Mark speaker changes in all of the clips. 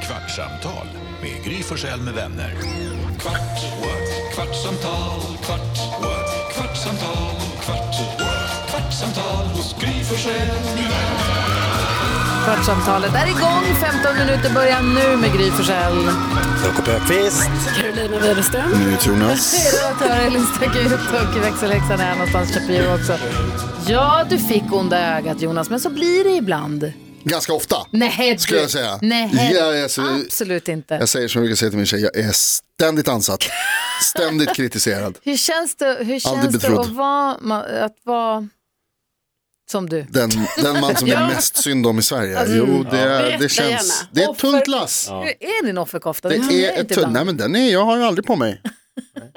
Speaker 1: Kvartsamtal med Gry Forssell med vänner. Kvart, what? kvartsamtal, kvart, what? kvartsamtal, kvart, what? kvartsamtal hos Gry Forssell med vänner.
Speaker 2: Kvartsamtalet är igång. 15 minuter börjar nu med Gry Forssell.
Speaker 3: Jakob Öqvist.
Speaker 2: Carolina Widerström. Redaktör Elin Stöckeyt och växelhäxan är någonstans Shapiro också. Ja, du fick onda ögat Jonas, men så blir det ibland.
Speaker 4: Ganska ofta.
Speaker 2: Nej,
Speaker 4: Skulle jag säga.
Speaker 2: Nej,
Speaker 4: Ja, jag ser-
Speaker 2: absolut inte.
Speaker 4: Jag säger som jag brukar säga till min tjej, jag är ständigt ansatt. Ständigt kritiserad.
Speaker 2: Hur känns det, hur känns det
Speaker 4: betrodd.
Speaker 2: att, vara, ma- att vara som du?
Speaker 4: Den, den man som det är mest synd om i Sverige. jo, det, är- det känns... Det är ett tungt lass.
Speaker 2: Hur är din offerkofta?
Speaker 4: Det
Speaker 2: Den känner jag
Speaker 4: är ett
Speaker 2: inte
Speaker 4: tungt...
Speaker 2: ibland.
Speaker 4: Nej, men den är, jag har ju aldrig på mig.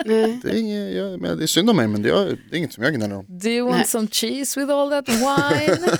Speaker 4: Det är, inget, jag, men det är synd om mig, men det är, det är inget som jag gnäller om.
Speaker 2: Do you want some cheese with all that wine?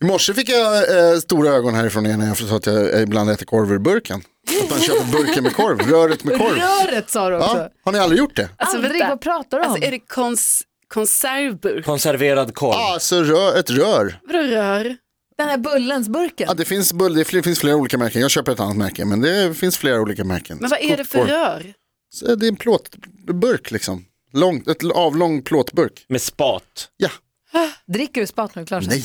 Speaker 4: I morse fick jag eh, stora ögon härifrån er när jag sa att jag ibland äter korv ur burken. Att man köper burken med korv, röret med korv.
Speaker 2: Röret sa du också.
Speaker 4: Ja, har ni aldrig gjort det?
Speaker 2: Alltså,
Speaker 5: Allt
Speaker 2: Fredrik,
Speaker 5: det.
Speaker 2: vad pratar du om?
Speaker 5: Alltså är det kons konservburk?
Speaker 3: Konserverad korv.
Speaker 4: Ja, Alltså rö, ett rör.
Speaker 5: Vadå rör?
Speaker 2: Den här bullensburken?
Speaker 4: Ja, det, finns bull, det fl- finns flera olika märken. Jag köper ett annat märke, men det finns flera olika märken.
Speaker 5: Men vad är det för
Speaker 4: Popcorn.
Speaker 5: rör?
Speaker 4: Så Det är en plåtburk liksom. Långt, ett avlång plåtburk.
Speaker 3: Med spat.
Speaker 4: Ja,
Speaker 2: Dricker du spat nu? Klart.
Speaker 4: nej,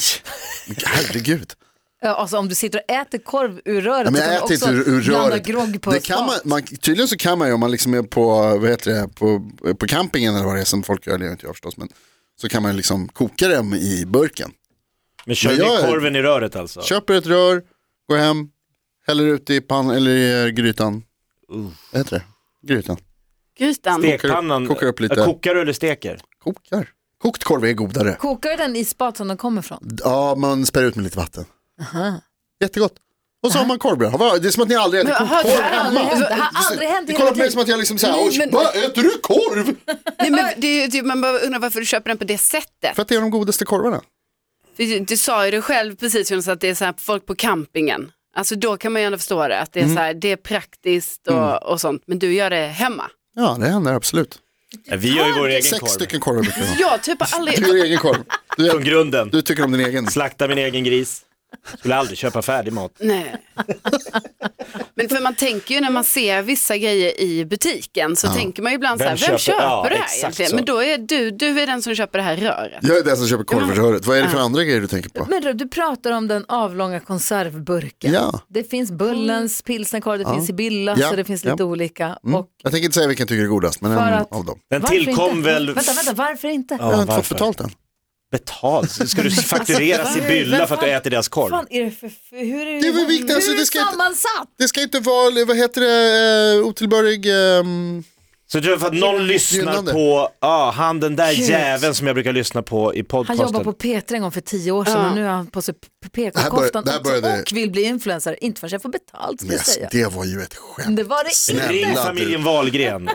Speaker 4: herregud.
Speaker 2: Ja, Alltså om du sitter och äter korv ur röret.
Speaker 4: Nej, men
Speaker 2: så
Speaker 4: jag
Speaker 2: kan
Speaker 4: äter
Speaker 2: du
Speaker 4: inte
Speaker 2: också
Speaker 4: ur, ur
Speaker 2: blanda
Speaker 4: röret.
Speaker 2: grogg på
Speaker 4: Det kan man,
Speaker 2: spat.
Speaker 4: man, tydligen så kan man ju om man liksom är på, vad heter det, på, på campingen eller vad det är som folk gör, det gör inte jag förstås, men så kan man liksom koka dem i burken.
Speaker 3: Men kör
Speaker 4: Men
Speaker 3: ner
Speaker 4: jag är-
Speaker 3: korven i röret alltså?
Speaker 4: Köper ett rör, går hem, häller ut det i pannan eller i grytan. Vad heter det? Grytan.
Speaker 5: Grytan?
Speaker 3: Stekpannan.
Speaker 4: Kokar upp lite.
Speaker 3: Ja, Kokar du eller steker?
Speaker 4: Kokar. Kokt korv är godare.
Speaker 2: Kokar du den i spat som den kommer från?
Speaker 4: Ja, man spär ut med lite vatten. Jättegott. Och så har man korvbröd. Har vi- Det är som att ni aldrig äter
Speaker 5: Men,
Speaker 4: kokt
Speaker 5: aha,
Speaker 4: korv
Speaker 5: det har
Speaker 4: hemma.
Speaker 5: aldrig hänt.
Speaker 2: Det har aldrig hänt i
Speaker 4: Ni
Speaker 2: hela
Speaker 4: kollar på mig
Speaker 2: mitt
Speaker 4: som att jag liksom såhär,
Speaker 5: Nej,
Speaker 4: "Oj,
Speaker 5: men-
Speaker 4: vad äter du korv?
Speaker 5: Nej, men det är, ju typ, man bara undrar varför du köper den på det sättet.
Speaker 4: För att det är de godaste korvarna.
Speaker 5: För du, du sa ju det själv precis Jonas att det är så här folk på campingen. Alltså då kan man ju ändå förstå det, att det är,
Speaker 3: Mm.
Speaker 5: så här, det är praktiskt och, och sånt. Men du gör det hemma.
Speaker 4: Ja, det händer absolut.
Speaker 3: Ja, Vi gör ju vår egen
Speaker 4: Sex
Speaker 3: korv.
Speaker 4: stycken korvar brukar jag ha.
Speaker 5: Jag typ har aldrig,
Speaker 4: Du gör egen korv.
Speaker 3: Från
Speaker 4: Du,
Speaker 3: grunden.
Speaker 4: du tycker om din egen.
Speaker 3: Slakta min egen gris. Skulle aldrig köpa färdig mat.
Speaker 5: Nej. Men för man tänker ju när man ser vissa grejer i butiken så tänker man ju ibland
Speaker 3: Vem
Speaker 5: så här, vem
Speaker 3: köper-
Speaker 5: köper,
Speaker 3: ja,
Speaker 5: det
Speaker 3: exakt
Speaker 5: här egentligen?
Speaker 3: så.
Speaker 5: Men då är du, du är den som köper det här röret.
Speaker 4: Jag är den som köper korvröret. Vad är det för andra grejer du tänker på?
Speaker 2: Men du, du pratar om den avlånga konservburken.
Speaker 4: Ja.
Speaker 2: Det finns
Speaker 3: Mm.
Speaker 2: Bullens pilsnerkorv, det finns Sibilla,
Speaker 4: Ja,
Speaker 2: så det finns
Speaker 4: ja.
Speaker 2: lite olika.
Speaker 4: Mm.
Speaker 2: Och
Speaker 4: Jag tänker inte säga vilken jag tycker är godast, men
Speaker 2: För
Speaker 4: en
Speaker 2: att-
Speaker 4: av dem.
Speaker 3: Den
Speaker 2: varför
Speaker 3: tillkom
Speaker 2: inte?
Speaker 3: väl...
Speaker 2: Vänta, vänta, varför inte?
Speaker 3: Ja,
Speaker 4: Jag har inte fått
Speaker 3: varför?
Speaker 4: betalt än.
Speaker 3: Betalt? Ska du fakturera Sibylla för att du äter deras korv?
Speaker 2: Fan, är det för, för, hur är det,
Speaker 4: Det är väl viktigt, alltså,
Speaker 2: hur är
Speaker 4: det ska inte-
Speaker 2: sammansatt?
Speaker 4: Det ska inte vara, vad heter det, eh, otillbörlig... ehm,
Speaker 3: Så jag tror för att någon lyssnar
Speaker 4: Gynnande.
Speaker 3: på, ja, han den där jäveln som jag brukar lyssna på i
Speaker 2: Han
Speaker 3: podcasten.
Speaker 2: jobbade på P3 en gång för tio år sedan och nu har han på sig PK-koftan
Speaker 4: Det här började- det här började-
Speaker 2: och vill bli influencer. Inte förrän jag får betalt ska jag
Speaker 4: yes,
Speaker 2: säga.
Speaker 4: det var ju ett skämt.
Speaker 2: Det var det inte.
Speaker 3: Ring
Speaker 4: Snälla
Speaker 3: familjen
Speaker 4: du.
Speaker 3: Wahlgren.
Speaker 5: Det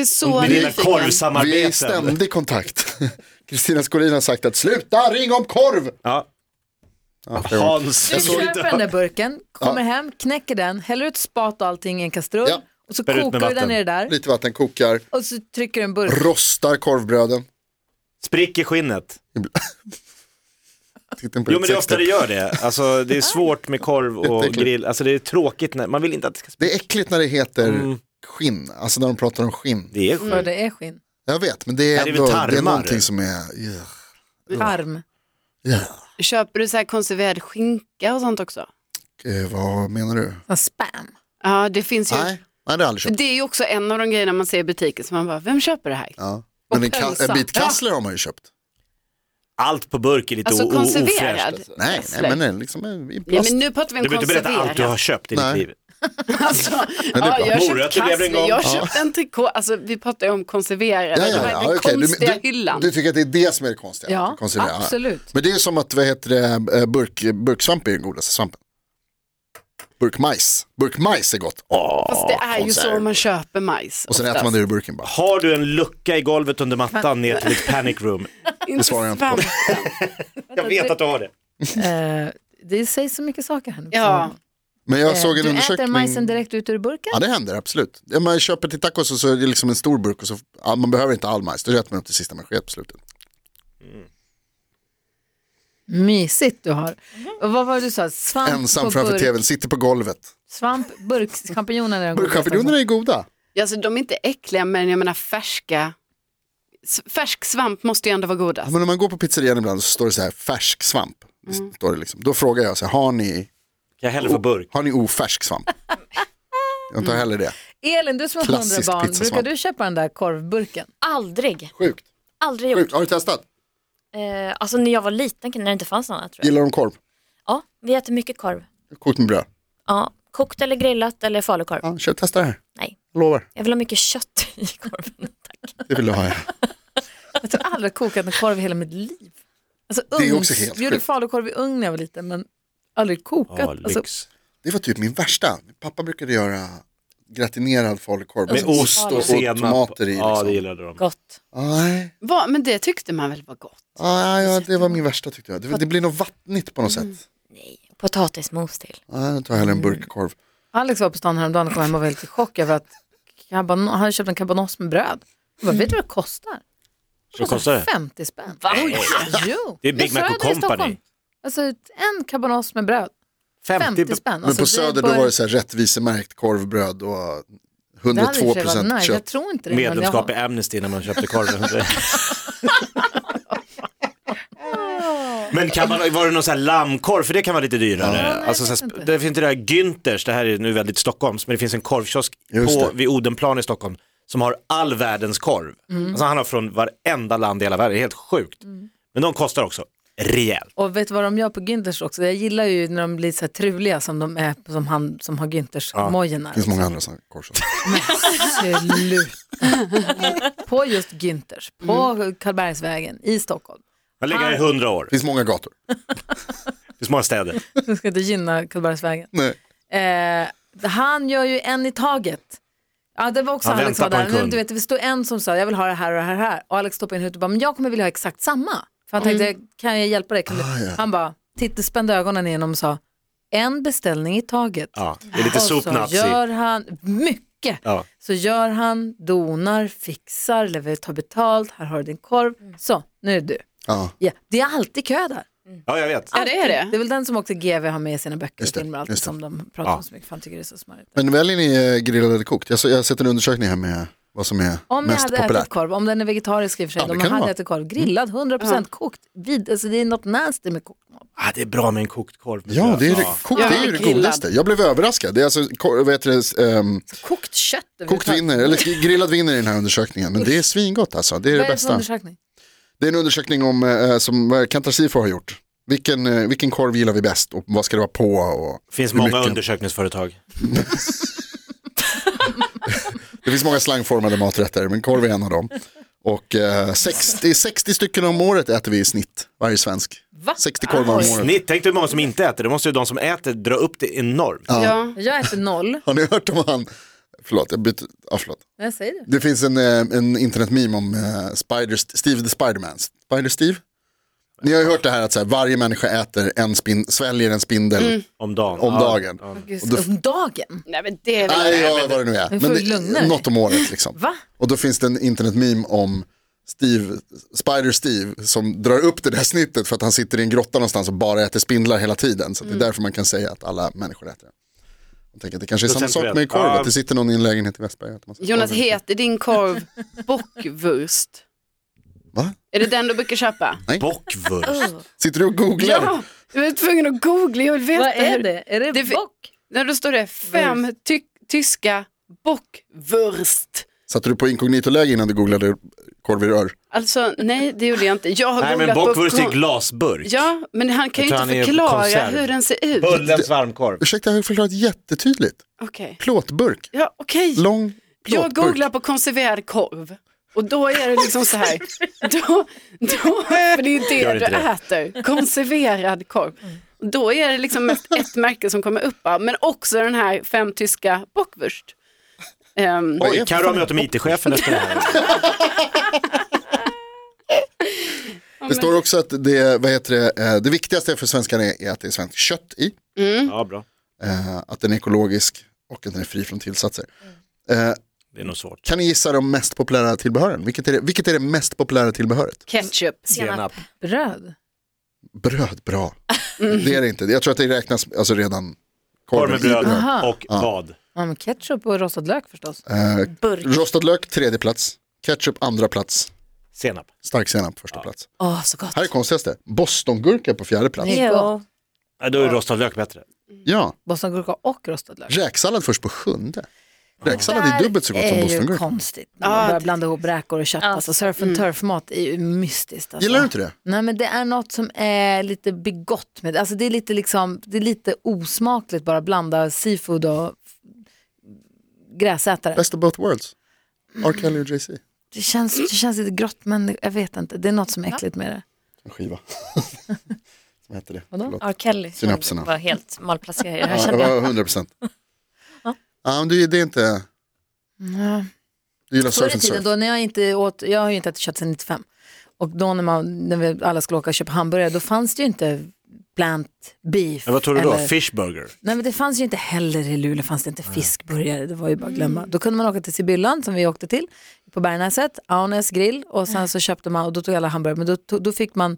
Speaker 5: är så
Speaker 3: Med dina
Speaker 4: Vi
Speaker 5: nyfiken.
Speaker 4: är i
Speaker 3: korvsamarbeten.
Speaker 4: ständig kontakt. Kristina Skolin har sagt att sluta ring om korv.
Speaker 3: Ja.
Speaker 4: Ja, det var-
Speaker 3: Hans.
Speaker 2: Du
Speaker 4: såg
Speaker 2: köper den där burken, kommer hem, knäcker den, häller ut spat och allting i en kastrull
Speaker 4: Ja.
Speaker 2: och så
Speaker 3: Spär ut med
Speaker 2: kokar du den
Speaker 3: vatten.
Speaker 2: i det där
Speaker 4: Lite vatten kokar,
Speaker 2: och så trycker du en burk.
Speaker 4: rostar korvbröden.
Speaker 3: Sprick i skinnet.
Speaker 4: Titta på
Speaker 3: Jo
Speaker 4: ditt
Speaker 3: men det är ofta
Speaker 4: sextape.
Speaker 3: det gör det. Alltså det är svårt med korv och
Speaker 4: Jätteäckligt.
Speaker 3: grill. Alltså det är tråkigt när, man vill inte att det ska
Speaker 4: Det är äckligt när det heter
Speaker 3: Mm.
Speaker 4: skinn, alltså när de pratar om skinn.
Speaker 3: Det är sjukt.
Speaker 2: För det är skinn.
Speaker 4: Jag vet, men det är,
Speaker 3: Ja, det är väl
Speaker 4: ändå, det är
Speaker 3: tarmar.
Speaker 4: någonting som är... ja,
Speaker 2: Arm.
Speaker 4: ja.
Speaker 5: Köper du så här konserverad skinka och sånt också?
Speaker 4: Eh, Vad menar du?
Speaker 2: Som spam.
Speaker 5: Ja, det finns ju.
Speaker 4: Nej, nej det har jag aldrig köpt.
Speaker 5: Det är ju också en av de grejerna man ser i butiken som man bara, vem köper det här?
Speaker 4: Ja. Men en, ka-
Speaker 2: pölsa.
Speaker 4: en bit kassler har man ju köpt.
Speaker 3: Allt på burk är lite
Speaker 5: Alltså
Speaker 3: o- o- ofräscht.
Speaker 5: konserverad.
Speaker 3: Alltså.
Speaker 4: Nej,
Speaker 5: Kassler.
Speaker 4: nej men en liksom en- i
Speaker 5: Nej,
Speaker 4: plast.
Speaker 5: men nu pratar vi
Speaker 3: Du
Speaker 5: om
Speaker 3: behöver inte berätta allt du har
Speaker 5: konserverat.
Speaker 3: köpt i ditt
Speaker 4: Nej.
Speaker 3: liv.
Speaker 5: Alltså,
Speaker 4: är
Speaker 5: ja,
Speaker 4: bra.
Speaker 5: jag
Speaker 3: Morötter
Speaker 5: köpte
Speaker 3: blev det en
Speaker 5: kassler,
Speaker 3: gång.
Speaker 5: jag köpte en trikå, alltså vi pratar ju om konserverade, det var den
Speaker 4: okej.
Speaker 5: konstiga
Speaker 4: du,
Speaker 5: hyllan.
Speaker 4: du, du tycker att det är det som är det konstiga?
Speaker 2: Ja,
Speaker 4: det konstiga, ja.
Speaker 2: absolut.
Speaker 4: Men det är som att, vad heter det, eh, burk, burksvamp är den godaste svampen. Burkmajs. Burkmajs är gott. Åh,
Speaker 5: Fast det är ju
Speaker 4: konserv.
Speaker 5: så man köper majs.
Speaker 4: Och sen äter man det ur burken bara.
Speaker 3: Har du en lucka i golvet under mattan ner till ett panic room?
Speaker 5: det
Speaker 4: svarar jag inte på.
Speaker 3: Jag vet att du har det.
Speaker 2: Eh, det sägs så mycket saker här nu.
Speaker 5: Ja,
Speaker 4: Men jag
Speaker 2: Eh,
Speaker 4: såg en
Speaker 2: du
Speaker 4: undersökning.
Speaker 2: äter majsen direkt ut ur burken?
Speaker 4: Ja det händer absolut. Ja, Man köper till tacos och så är det liksom en stor burk och så, ja,
Speaker 2: Ah,
Speaker 4: man behöver inte all majs. Då äter man upp till sista man sked på slutet.
Speaker 2: Mysigt du har. Och vad var det du sa? Svamp på
Speaker 4: Ensam framför
Speaker 2: burk.
Speaker 4: tvn, sitter på golvet.
Speaker 2: Svamp, burk, champinjoner är de godaste.
Speaker 4: Champinjonerna är goda.
Speaker 5: Ja, Alltså, de är inte äckliga men jag menar färska, s- färsk svamp måste ju ändå vara godast.
Speaker 4: Men om man går på pizzerian ibland så står det så här färsk svamp. Det
Speaker 2: Mm.
Speaker 4: Står det liksom. Då frågar jag så här, har ni,
Speaker 3: Jag häller för burk.
Speaker 4: har ni ofärsk svamp? Jag
Speaker 2: Mm.
Speaker 4: tar heller det.
Speaker 2: Elin, du som har hundra
Speaker 4: Klassisk
Speaker 2: barn, brukar
Speaker 4: pizzasvamp.
Speaker 2: du köpa den där korvburken?
Speaker 6: Aldrig.
Speaker 4: Sjukt.
Speaker 6: Aldrig gjort.
Speaker 4: Sjukt. Har du testat?
Speaker 6: Eh, alltså när jag var liten när det inte fanns något annat tror jag.
Speaker 4: Gillar de korv?
Speaker 6: Ja, vi äter mycket korv.
Speaker 4: Kokt med bröd?
Speaker 6: Ja, kokt eller grillat eller falukorv.
Speaker 4: Ja, kör, testa det här.
Speaker 6: Nej.
Speaker 4: Jag lovar,
Speaker 6: Jag vill ha mycket kött i korven. Tack.
Speaker 4: det vill du ha. Ja.
Speaker 2: Jag tror aldrig jag kokat en korv i hela mitt liv. Alltså,
Speaker 4: är
Speaker 2: ugns-
Speaker 4: också helt
Speaker 2: Jag gjorde
Speaker 4: sjukt.
Speaker 2: falukorv i ugn när jag var liten, men aldrig kokat.
Speaker 3: Ja,
Speaker 2: alltså,
Speaker 3: lyx.
Speaker 4: Det var typ min värsta. Min pappa brukade göra gratinerad falukorv
Speaker 3: Med ost och senap.
Speaker 4: tomater i.
Speaker 3: Ja, det
Speaker 4: Liksom.
Speaker 3: gillade de.
Speaker 6: Gott.
Speaker 4: Nej,
Speaker 5: Va? Men det tyckte man väl var gott?
Speaker 4: nej, ja, det var min värsta tyckte jag. Det, det blir något vattnigt på något
Speaker 2: Mm.
Speaker 4: sätt.
Speaker 6: Nej, potatismos till.
Speaker 4: Nej, jag tar hellre en burk korv.
Speaker 2: Alex var på stan häromdagen och kom hem och var helt i chock över att caban- han hade köpt en kabanoss med bröd. Jag bara, vet du vad det kostar?
Speaker 3: Vad kostar det?
Speaker 2: 50 spänn.
Speaker 6: Va?
Speaker 2: Jo.
Speaker 3: Det är Big
Speaker 2: Jag
Speaker 3: Mac
Speaker 2: sa
Speaker 3: och
Speaker 2: det i Stockholm.
Speaker 3: Company.
Speaker 2: Alltså en kabanoss med bröd, 50 spänn.
Speaker 4: Men
Speaker 2: Alltså,
Speaker 4: på
Speaker 2: det
Speaker 4: Söder då
Speaker 2: bör-
Speaker 4: var det så här rättvisemärkt korvbröd och
Speaker 2: Det hade i och
Speaker 4: 102
Speaker 2: för sig varit
Speaker 4: procent
Speaker 2: nice. Jag
Speaker 4: kött.
Speaker 2: tror inte det. men jag
Speaker 3: medlemskap
Speaker 2: har-
Speaker 3: i Amnesty när man köpte korven. Men kan man, var det någon sån här lammkorv, för det kan vara lite dyrare. alltså, så här, det finns det där Günthers, det här är nu väldigt Stockholms, men det finns en korvkiosk
Speaker 4: Just
Speaker 3: på,
Speaker 4: det.
Speaker 3: vid Odenplan i Stockholm som har all världens korv.
Speaker 2: Mm.
Speaker 3: Alltså, han har från varenda land i hela världen, det är helt sjukt. Men de kostar också rejält.
Speaker 2: Och vet du vad de gör på Günthers också? Jag gillar ju när de blir så här truliga som de är, som han som har Günthers-mojorna.
Speaker 4: Det finns många andra sådana korv.
Speaker 2: Absolut. på just Günthers, på Karlbergsvägen i Stockholm.
Speaker 3: Han ligger här i hundra år,
Speaker 4: Det finns många gator.
Speaker 3: i små städer.
Speaker 2: Du ska inte gynna Karlbergsvägen.
Speaker 4: Nej.
Speaker 2: Eh, han gör ju en i taget. Ja, det var också
Speaker 3: Han
Speaker 2: Alex som var
Speaker 3: väntar på
Speaker 2: där.
Speaker 3: en
Speaker 2: Men
Speaker 3: kund.
Speaker 2: Du vet, det stod en som sa jag vill ha det här och det här och det här. Och Alex stoppade in huvudet och bara, men jag kommer vilja ha exakt samma. För han
Speaker 3: Mm.
Speaker 2: tänkte, kan jag hjälpa dig? Kan du?
Speaker 3: Ah,
Speaker 2: Han bara, titta, spände ögonen igenom och sa, en beställning i taget.
Speaker 3: Ja, det är lite
Speaker 2: Och så
Speaker 3: sopnazi.
Speaker 2: Alltså, gör han, mycket.
Speaker 3: Ja.
Speaker 2: Så gör han, donar, fixar, lever, tar betalt, här har du din korv. Så, nu är det du.
Speaker 4: Ja,
Speaker 2: Ja, det är alltid kö där.
Speaker 3: ja, jag vet.
Speaker 5: Ja det är
Speaker 2: Det
Speaker 5: det.
Speaker 2: är väl den som också GV har med i sina böcker och
Speaker 4: Just det,
Speaker 2: filmer och allt
Speaker 4: just det.
Speaker 2: som de pratar om
Speaker 3: Ja.
Speaker 2: så mycket. för Han tycker det är så smarrigt.
Speaker 4: men väljer ni eh, grillad eller kokt? Jag, så, jag har sett en undersökning här med vad som är
Speaker 2: Om jag
Speaker 4: mest
Speaker 2: hade
Speaker 4: populärt.
Speaker 2: ätit korv, om den är vegetarisk i och för sig,
Speaker 4: Ja, det
Speaker 2: om man
Speaker 4: kan det
Speaker 2: hade
Speaker 4: vara. Mm.
Speaker 2: ätit korv, grillad, 100% kokt, vid, alltså det är något nasty med kokt mat.
Speaker 3: Ah, det är bra med en kokt korv. med
Speaker 4: Ja,
Speaker 3: bröd.
Speaker 4: det är, kokt
Speaker 5: Jag
Speaker 4: det är ju
Speaker 5: vill
Speaker 4: det
Speaker 5: grillad.
Speaker 4: godaste. Jag blev överraskad. Det är alltså, kor- vad heter det, ehm,
Speaker 2: Kokt kött
Speaker 4: kokt vinner, eller grillad vinner i den här undersökningen. Men det är svingott alltså, det är det
Speaker 2: Vad är det för
Speaker 4: bästa.
Speaker 2: undersökning?
Speaker 4: Det är en undersökning om, eh, som eh, Kantar Sifo har gjort. Vilken, eh, vilken korv gillar vi bäst och vad ska det vara på? Och
Speaker 3: finns
Speaker 4: hur
Speaker 3: många
Speaker 4: mycket?
Speaker 3: undersökningsföretag.
Speaker 4: Det finns många slangformade maträtter, men korv är en av dem. Och eh, 60, 60 stycken om året äter vi i snitt, varje svensk. 60 korvar om året.
Speaker 3: Snitt, tänk dig hur många som inte äter, det måste ju de som äter dra upp det enormt.
Speaker 5: Ja.
Speaker 2: Jag äter noll,
Speaker 4: Har ni hört om han, förlåt, jag byter, ja, förlåt.
Speaker 2: jag säger det.
Speaker 4: Det finns en, eh, en internetmeme om eh, Spider, Steve the Spiderman. Spider Steve? Ni har ju hört det här att så här, varje människa äter en spin, sväljer en spindel
Speaker 3: Om dagen.
Speaker 4: om
Speaker 3: Mm. Ja.
Speaker 4: dagen.
Speaker 2: Gud,
Speaker 4: Och då-
Speaker 2: om dagen?
Speaker 5: Nej men det är väl...
Speaker 4: Nej, ja, vad det nu är.
Speaker 2: Men får
Speaker 4: Men
Speaker 2: du lugna
Speaker 4: det,
Speaker 2: dig?
Speaker 4: något om året liksom.
Speaker 2: Va?
Speaker 4: Och då finns det en internetmeme om Steve, Spider Steve som drar upp det där snittet för att han sitter i en grotta någonstans och bara äter spindlar hela tiden. Så
Speaker 5: Mm.
Speaker 4: det är därför man kan säga att alla människor äter det. Jag tänker att det kanske är samma sak
Speaker 3: Procentuellt.
Speaker 4: med korv,
Speaker 3: Ja.
Speaker 4: att ah. det sitter någon i en lägenhet i Västberg. och äter massa
Speaker 5: Jonas,
Speaker 4: korv.
Speaker 5: heter din korv bockwurst?
Speaker 4: Va?
Speaker 5: Är det den du brukar köpa?
Speaker 3: Bockwurst.
Speaker 6: Oh,
Speaker 4: Sitter du och googlar?
Speaker 5: Ja, jag var tvungen att googla, jag vill veta.
Speaker 2: Vad är
Speaker 5: hur-
Speaker 2: det? Är det,
Speaker 5: Det fi-
Speaker 2: bock?
Speaker 5: När då står det fem ty- tyska bockwurst.
Speaker 4: Satte du på inkognito-läge innan du googlade korv i rör?
Speaker 5: Alltså nej, det gjorde jag inte. Jag har
Speaker 3: Nej men
Speaker 5: googlat
Speaker 3: bockwurst i
Speaker 5: bock-
Speaker 3: glasburk.
Speaker 5: Ja, men han kan ju
Speaker 3: Jag tror
Speaker 5: inte
Speaker 3: han är
Speaker 5: förklara
Speaker 3: konserv.
Speaker 5: hur den ser ut.
Speaker 3: Bullens varmkorv.
Speaker 4: Ursäkta, jag har förklarat jättetydligt.
Speaker 5: Okej.
Speaker 4: Plåtburk,
Speaker 5: Ja, okej.
Speaker 4: lång
Speaker 5: Jag
Speaker 4: plåtburk.
Speaker 5: googlar på konserverad korv. Och då är det liksom så här, då, då, för det är ju
Speaker 3: Gör
Speaker 5: det du
Speaker 3: inte det.
Speaker 5: äter, konserverad korv. Och Då är det liksom mest ett märke som kommer upp, va? men också den här fem tyska bockwurst. Ehm,
Speaker 4: Vad är
Speaker 3: Oj,
Speaker 4: det för
Speaker 3: Carro har
Speaker 4: fan?
Speaker 3: möte med IT-chefen efter det här.
Speaker 4: Det står också att det, vad heter det, eh, det viktigaste för svenskarna är är att det är svenskt kött i.
Speaker 5: mm.
Speaker 3: Ja, bra.
Speaker 4: eh, att den är ekologisk och att den är fri från tillsatser.
Speaker 2: Mm.
Speaker 4: Eh,
Speaker 3: Det är nog svårt.
Speaker 4: kan ni gissa de mest populära tillbehören? Vilket är det, vilket är det mest populära tillbehöret?
Speaker 5: ketchup.
Speaker 6: senap.
Speaker 2: Bröd?
Speaker 4: Bröd, bra.
Speaker 2: Mm.
Speaker 4: Det är det inte. Jag tror att det räknas alltså redan
Speaker 3: Korv med
Speaker 4: i
Speaker 3: bröd
Speaker 2: Aha.
Speaker 3: och vad?
Speaker 2: Ja, men ketchup och rostad lök förstås.
Speaker 4: Eh,
Speaker 6: Burk.
Speaker 4: rostad lök, tredje plats. Ketchup, andra plats.
Speaker 3: Senap.
Speaker 4: Stark senap, första plats.
Speaker 2: Åh, så gott.
Speaker 4: Här är konstigaste. Bostongurka på fjärde plats.
Speaker 2: Nej.
Speaker 6: Jo.
Speaker 3: Ja, Då är rostad lök bättre.
Speaker 2: Mm.
Speaker 4: Ja,
Speaker 2: Bostongurka och rostad lök.
Speaker 4: räksallad först på sjunde. Räksallad är dubbelt så gott som
Speaker 2: är ju
Speaker 4: bostongurka.
Speaker 2: konstigt. När man börjar blanda ihop räkor och kött. Alltså, surf and turf-mat är ju mystiskt. Alltså.
Speaker 4: Gillar du inte det?
Speaker 2: Nej men det är något som är lite begått med det. Alltså det är lite liksom, det är lite osmakligt bara att blanda seafood och f- gräsätare.
Speaker 4: Best of both worlds. R. Kelly och JC.
Speaker 2: Det känns, det känns lite grått men jag vet inte, det är något som är äckligt med det.
Speaker 4: En skiva. Som hette det.
Speaker 2: Vadå?
Speaker 4: Förlåt.
Speaker 6: R. Kelly som
Speaker 4: Synapserna.
Speaker 6: var helt malplacerad i det här
Speaker 4: Ja, det
Speaker 6: kände jag.
Speaker 4: var 100 procent. Ja, men du, det är inte... Du
Speaker 2: Förr
Speaker 4: gillar
Speaker 2: i
Speaker 4: surf and
Speaker 2: tiden
Speaker 4: surf.
Speaker 2: då när jag inte åt, jag har ju inte ätit kött sedan 95. Och då när, man, när vi alla skulle åka och köpa hamburgare, då fanns det ju inte plant beef.
Speaker 3: Men vad tror du då?
Speaker 2: eller-
Speaker 3: Fishburger?
Speaker 2: Nej men det fanns ju inte heller i Luleå, fanns det inte fiskburgare, det var ju bara att glömma.
Speaker 4: Mm.
Speaker 2: Då kunde man åka till Sibyllan som vi åkte till, på Bergnäset, Aunes grill och
Speaker 4: Mm.
Speaker 2: sen så köpte man, och då tog alla hamburgare, men då, tog- då fick man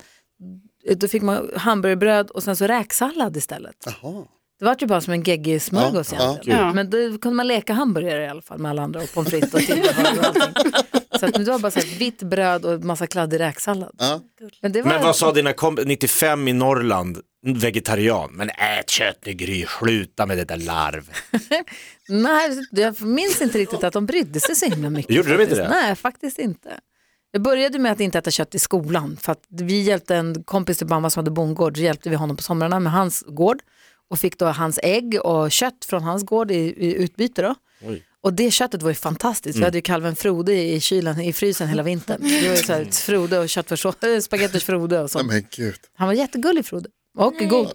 Speaker 2: då fick man hamburgerbröd och sen så räksallad istället.
Speaker 4: Jaha.
Speaker 2: Det var ju bara som en geggig smörgås
Speaker 4: Ja,
Speaker 2: egentligen.
Speaker 5: ja.
Speaker 2: Men då kunde man leka hamburgare i alla fall med alla andra och pommes frites och tillbehör och allting. Så att, men det var bara så här, vitt bröd och massa kladdig räksallad.
Speaker 4: Ja.
Speaker 2: Men, det var,
Speaker 3: Men vad sa dina kompisar, 95 i Norrland, vegetarian, men ät kött nu Gry, sluta med det där larv.
Speaker 2: Nej, jag minns inte riktigt att de brydde sig så himla mycket.
Speaker 3: Gjorde de
Speaker 2: faktiskt.
Speaker 3: inte det?
Speaker 2: Nej, faktiskt inte. Jag började med att inte äta kött i skolan för att vi hjälpte en kompis till mamma som hade bondgård, så hjälpte vi honom på somrarna med hans gård och fick då hans ägg och kött från hans gård i, i utbyte då. Och det köttet var ju fantastiskt,
Speaker 3: Mm.
Speaker 2: vi hade ju kalven Frode i kylen, i frysen hela vintern. Det var ju så här, Frode och köttfärssås, spagetti Frode och sånt.
Speaker 4: Nej, men gud.
Speaker 2: Han var jättegullig Frode och god.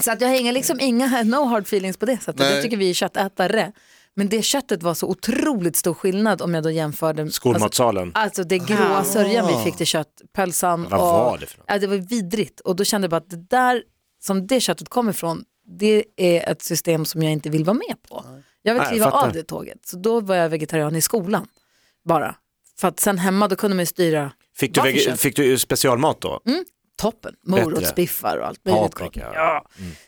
Speaker 2: Så att jag har inga, liksom inga no hard feelings på det sättet.
Speaker 4: Nej.
Speaker 2: Jag tycker vi är köttätare. Men det köttet var så otroligt stor skillnad om jag då jämförde.
Speaker 3: Skolmatsalen.
Speaker 2: Alltså, alltså det gråa sörjan vi fick till köttpölsan.
Speaker 3: Vad var det för något?
Speaker 2: Ja, det var vidrigt och då kände jag bara att det där som det köttet kommer ifrån det är ett system som jag inte vill vara med på. Jag vill
Speaker 3: Nej, jag
Speaker 2: kliva
Speaker 3: fattar.
Speaker 2: av det tåget. Så då var jag vegetarian i skolan bara. För att sen hemma då kunde man ju styra
Speaker 3: Fick du,
Speaker 2: Varför
Speaker 3: vege-
Speaker 2: kött? Mm.
Speaker 3: fick du specialmat då?
Speaker 2: toppen.
Speaker 3: Bättre.
Speaker 2: Morotsbiffar och allt möjligt.
Speaker 3: Paprika?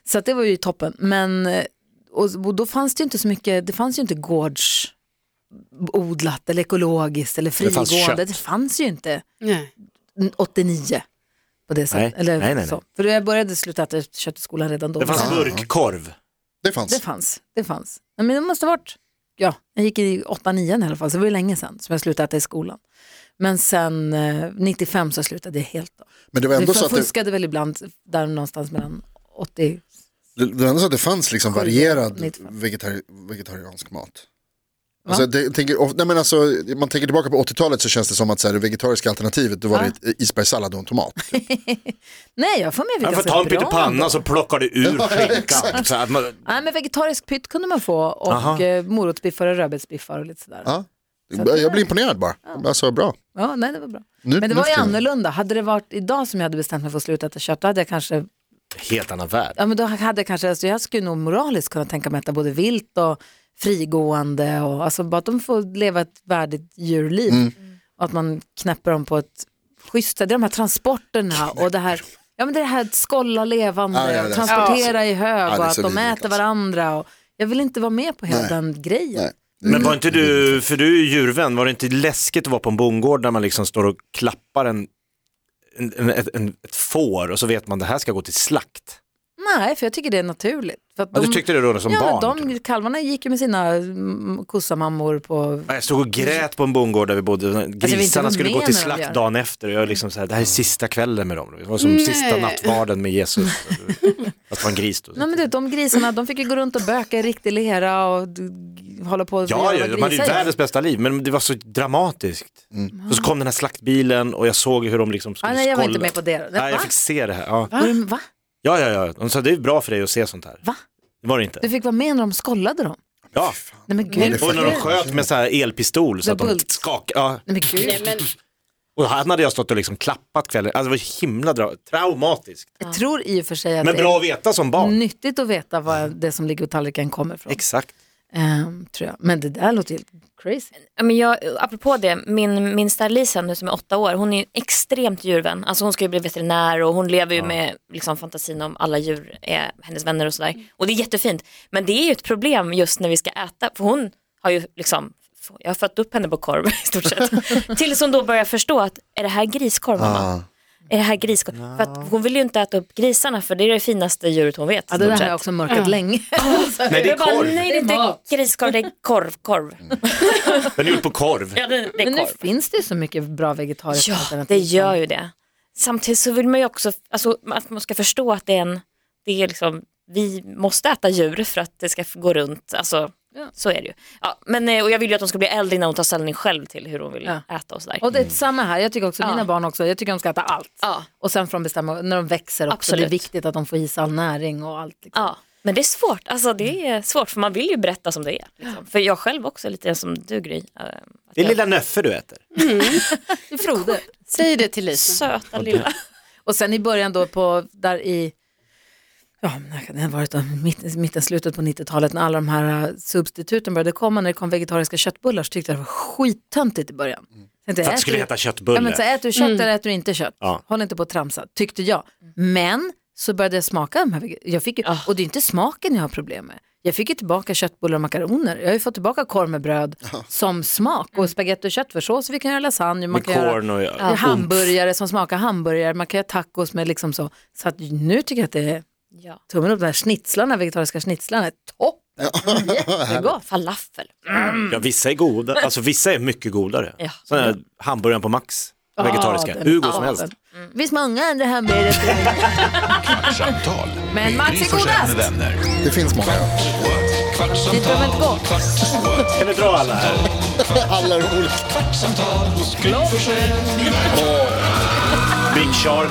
Speaker 2: Så att det var ju toppen. Men eh, och, och då fanns det ju inte så mycket, det fanns ju inte gårdsodlat eller ekologiskt eller
Speaker 3: Det fanns
Speaker 2: frigående.
Speaker 3: kött.
Speaker 2: Det fanns ju inte
Speaker 5: Nej.
Speaker 2: 89 på det sättet.
Speaker 3: Nej, nej, nej,
Speaker 2: Så.
Speaker 3: nej.
Speaker 2: För jag började sluta äta kött i skolan redan då.
Speaker 3: Det fanns burkkorv.
Speaker 4: Det fanns.
Speaker 2: det fanns. Det fanns. Nej, men det måste ha varit, ja, jag gick i 8-9 i alla fall, så det var ju länge sedan som jag slutade äta i skolan. Men sen eh, 95 så slutade jag helt. Då.
Speaker 4: Men det var
Speaker 2: Vi
Speaker 4: ändå så att det,
Speaker 2: fuskade väl ibland där någonstans mellan 80
Speaker 4: det, det, var ändå så att det fanns liksom
Speaker 2: Sju,
Speaker 4: varierad
Speaker 2: mitt fem.
Speaker 4: vegetari vegetariansk mat. Alltså, det, jag tänker, of- nej, men alltså, man tänker tillbaka på 80-talet så känns det som att så här, det vegetariska alternativet då var det ett isbergssallad och en tomat.
Speaker 2: Nej, jag får med
Speaker 3: Man
Speaker 2: mig
Speaker 3: får ta en pyttipanna så plockar du ur skinkan. Så att man-
Speaker 2: Nej, men vegetarisk pytt kunde man få och
Speaker 3: Aha.
Speaker 2: eh, morotsbiffar och rödbetsbiffar och lite sådär. Ja.
Speaker 4: Ja. Jag blir imponerad bara. Alltså bra.
Speaker 2: nej, det var bra. men
Speaker 4: Nu-
Speaker 2: det
Speaker 4: nu
Speaker 2: var ju
Speaker 4: för tiden.
Speaker 2: annorlunda. Hade det varit idag som jag hade bestämt mig för att sluta äta kött, då hade jag kanske,
Speaker 3: Helt annan värld.
Speaker 2: ja men då hade jag kanske, alltså, jag skulle nog moraliskt kunna tänka mig att äta både vilt och frigående och alltså bara att de får leva ett värdigt djurliv.
Speaker 4: Mm.
Speaker 2: Och att man knäpper dem på ett schysst sätt. Det är de här transporterna och det här, ja men det är det här att skolla levande,
Speaker 4: Ja, ja, det är-
Speaker 2: transportera i hög
Speaker 4: Ja, det är
Speaker 2: och att
Speaker 4: så
Speaker 2: de
Speaker 4: vidrigt,
Speaker 2: äter
Speaker 4: alltså.
Speaker 2: varandra. Och, jag vill inte vara med på hela
Speaker 4: Nej.
Speaker 2: den grejen.
Speaker 4: Nej.
Speaker 3: Men var inte du, för du är ju djurvän, var det inte läskigt att vara på en bondgård där man liksom står och klappar en, en, en, ett- en, ett får och så vet man det här ska gå till slakt?
Speaker 2: Nej, för jag tycker det är naturligt. För att
Speaker 3: Ja, du tyckte det då som
Speaker 2: ja, men
Speaker 3: barn?
Speaker 2: De, kalvarna gick ju med sina mm, kossamammor på...
Speaker 3: Ja, Jag stod och grät på en bondgård där vi bodde.
Speaker 2: jag vet Alltså, inte
Speaker 3: Grisarna
Speaker 2: vad
Speaker 3: skulle gå
Speaker 2: menar
Speaker 3: till
Speaker 2: de
Speaker 3: slakt
Speaker 2: gör.
Speaker 3: dagen efter och jag liksom så här, det här är sista kvällen med dem. Det var som sista
Speaker 5: Nej.
Speaker 3: nattvarden med Jesus. Att vara en gris då.
Speaker 2: Nej, men du, de grisarna de fick ju gå runt och böka i riktig lera och d- g- hålla på och
Speaker 3: Ja, ja,
Speaker 2: vad
Speaker 3: de hade ju
Speaker 2: grisar gör.
Speaker 3: världens bästa liv, men det var så dramatiskt. Och så kom den här slaktbilen och jag såg hur de liksom skulle
Speaker 2: Ah, nej, jag var
Speaker 3: skålla.
Speaker 2: inte med på det. då.
Speaker 3: Nej, jag
Speaker 2: Va?
Speaker 3: fick se det här. Ja.
Speaker 2: Var
Speaker 6: Mm.
Speaker 2: du- Va?
Speaker 3: ja, ja, ja. De sa det är bra för dig att se sånt här.
Speaker 2: Va?
Speaker 3: Det var det inte.
Speaker 2: Du fick vara med när de skollade dem?
Speaker 3: Ja.
Speaker 2: Nej men gud.
Speaker 3: Och Mm. när de sköt med så här elpistol så
Speaker 2: The
Speaker 3: att de
Speaker 2: Bult.
Speaker 3: skakade. Ja.
Speaker 2: Nej, men
Speaker 5: Nej,
Speaker 2: gud.
Speaker 5: men,
Speaker 3: Och han hade jag stått och liksom klappat kvällen. Alltså det var himla dra- traumatiskt.
Speaker 2: Jag tror i och för sig att
Speaker 3: Men bra Mm. att veta som
Speaker 2: det är
Speaker 3: barn.
Speaker 2: nyttigt att veta var det som ligger på tallriken kommer ifrån.
Speaker 3: Exakt.
Speaker 2: Ehm, tror jag. Men det där låter helt crazy.
Speaker 6: Ja, Men jag, apropå det, min, min star Lisa nu som är åtta år, hon är ju extremt djurvän. Alltså hon ska ju bli veterinär och hon lever ju med liksom, fantasin om alla djur är hennes vänner och sådär. Och det är jättefint. Men det är ju ett problem just när vi ska äta, för hon har ju liksom, jag har fött upp henne på korv i stort sett. Tills hon då börjar förstå att, är det här griskorv mamma?
Speaker 4: Ah.
Speaker 6: Är det här griskorv? För att hon vill ju inte äta upp grisarna för det är det finaste djuret hon vet.
Speaker 2: Ja, det
Speaker 6: i
Speaker 2: där har
Speaker 6: stort sett.
Speaker 2: jag också mörkat länge.
Speaker 3: Nej, det är
Speaker 6: Jag bara,
Speaker 3: korv. Mm.
Speaker 6: nej det är
Speaker 2: Det är
Speaker 6: inte
Speaker 2: mat.
Speaker 6: griskorv, det är korv, korv.
Speaker 3: Den är gjord på korv.
Speaker 6: Ja, det, det är
Speaker 2: Men nu
Speaker 6: korv.
Speaker 2: finns det ju så mycket bra vegetariskt
Speaker 6: Ja,
Speaker 2: alternativ.
Speaker 6: det gör ju det. Samtidigt så vill man ju också alltså, att man ska förstå att det är en, det är liksom, vi måste äta djur för att det ska få gå runt. Alltså, Så är det ju. Ja, men, eh, och jag vill ju att hon ska bli äldre innan hon tar ställning själv till hur hon vill
Speaker 2: Ja.
Speaker 6: äta och sådär.
Speaker 2: Och det
Speaker 5: Mm.
Speaker 2: är samma här, jag tycker också
Speaker 6: Ja.
Speaker 2: mina barn också, jag tycker de ska äta allt.
Speaker 6: Ja.
Speaker 2: Och sen får de bestämma när de växer också,
Speaker 6: Absolut.
Speaker 2: det är viktigt att de får i sig all näring och allt. Liksom.
Speaker 6: ja. Men det är svårt, alltså, det är svårt för man vill ju berätta som det är. Liksom. För jag själv också är lite som du Gry. eh, att
Speaker 3: Det är
Speaker 6: jag-
Speaker 3: lilla Nöffe du äter.
Speaker 2: Frode.
Speaker 5: Säg det till Lisa.
Speaker 6: Söta lilla.
Speaker 2: Och sen i början då på, där i, ja när kan det ha varit då, mitten, mitten, slutet på 90-talet när alla de här eh, substituten började komma, när det kom vegetariska köttbullar så tyckte jag det var skittöntigt i början.
Speaker 5: Mm.
Speaker 2: Tänkte,
Speaker 3: För att
Speaker 2: äter
Speaker 3: det skulle
Speaker 2: du-
Speaker 3: heta
Speaker 2: Ja, men
Speaker 3: köttbulle.
Speaker 2: så här, äter du kött eller äter du inte kött?
Speaker 3: Ja.
Speaker 2: Håll inte på och tramsa, tyckte jag. Men så började jag smaka de här, vege- jag fick ju, och det är inte smaken jag har problem med. Jag fick ju tillbaka köttbullar och makaroner. Jag har ju fått tillbaka korv med bröd som smak och spagetti och köttfärssås. Vi kan göra lasagne, man
Speaker 3: Med
Speaker 2: kan göra
Speaker 3: korn och
Speaker 2: det är hamburgare som smakar hamburgare, man kan göra tacos med liksom så. Så att nu tycker jag att det är
Speaker 6: Ja.
Speaker 2: tummen upp, de här schnitzlarna, vegetariska schnitzlarna, är toppen, jättegott.
Speaker 6: Falafel.
Speaker 3: Ja, vissa är goda, alltså vissa är mycket godare.
Speaker 6: Ja.
Speaker 3: Sådana här hamburgaren på Max, vegetariska, hur god som helst.
Speaker 2: Mm. Det finns många andra hamburgare.
Speaker 1: Kvartsamtal
Speaker 2: Men
Speaker 1: med
Speaker 2: Mats
Speaker 1: Gry
Speaker 2: är
Speaker 1: Forssell med
Speaker 2: godast.
Speaker 1: vänner.
Speaker 4: Det finns många.
Speaker 1: What?
Speaker 2: Ni behöver inte gå.
Speaker 1: Kvartsamtal, kvart,
Speaker 3: Kan vi dra alla här?
Speaker 4: Alla de olika.
Speaker 1: kvartsamtal hos Gry Forssell med vänner.
Speaker 3: Big Shark,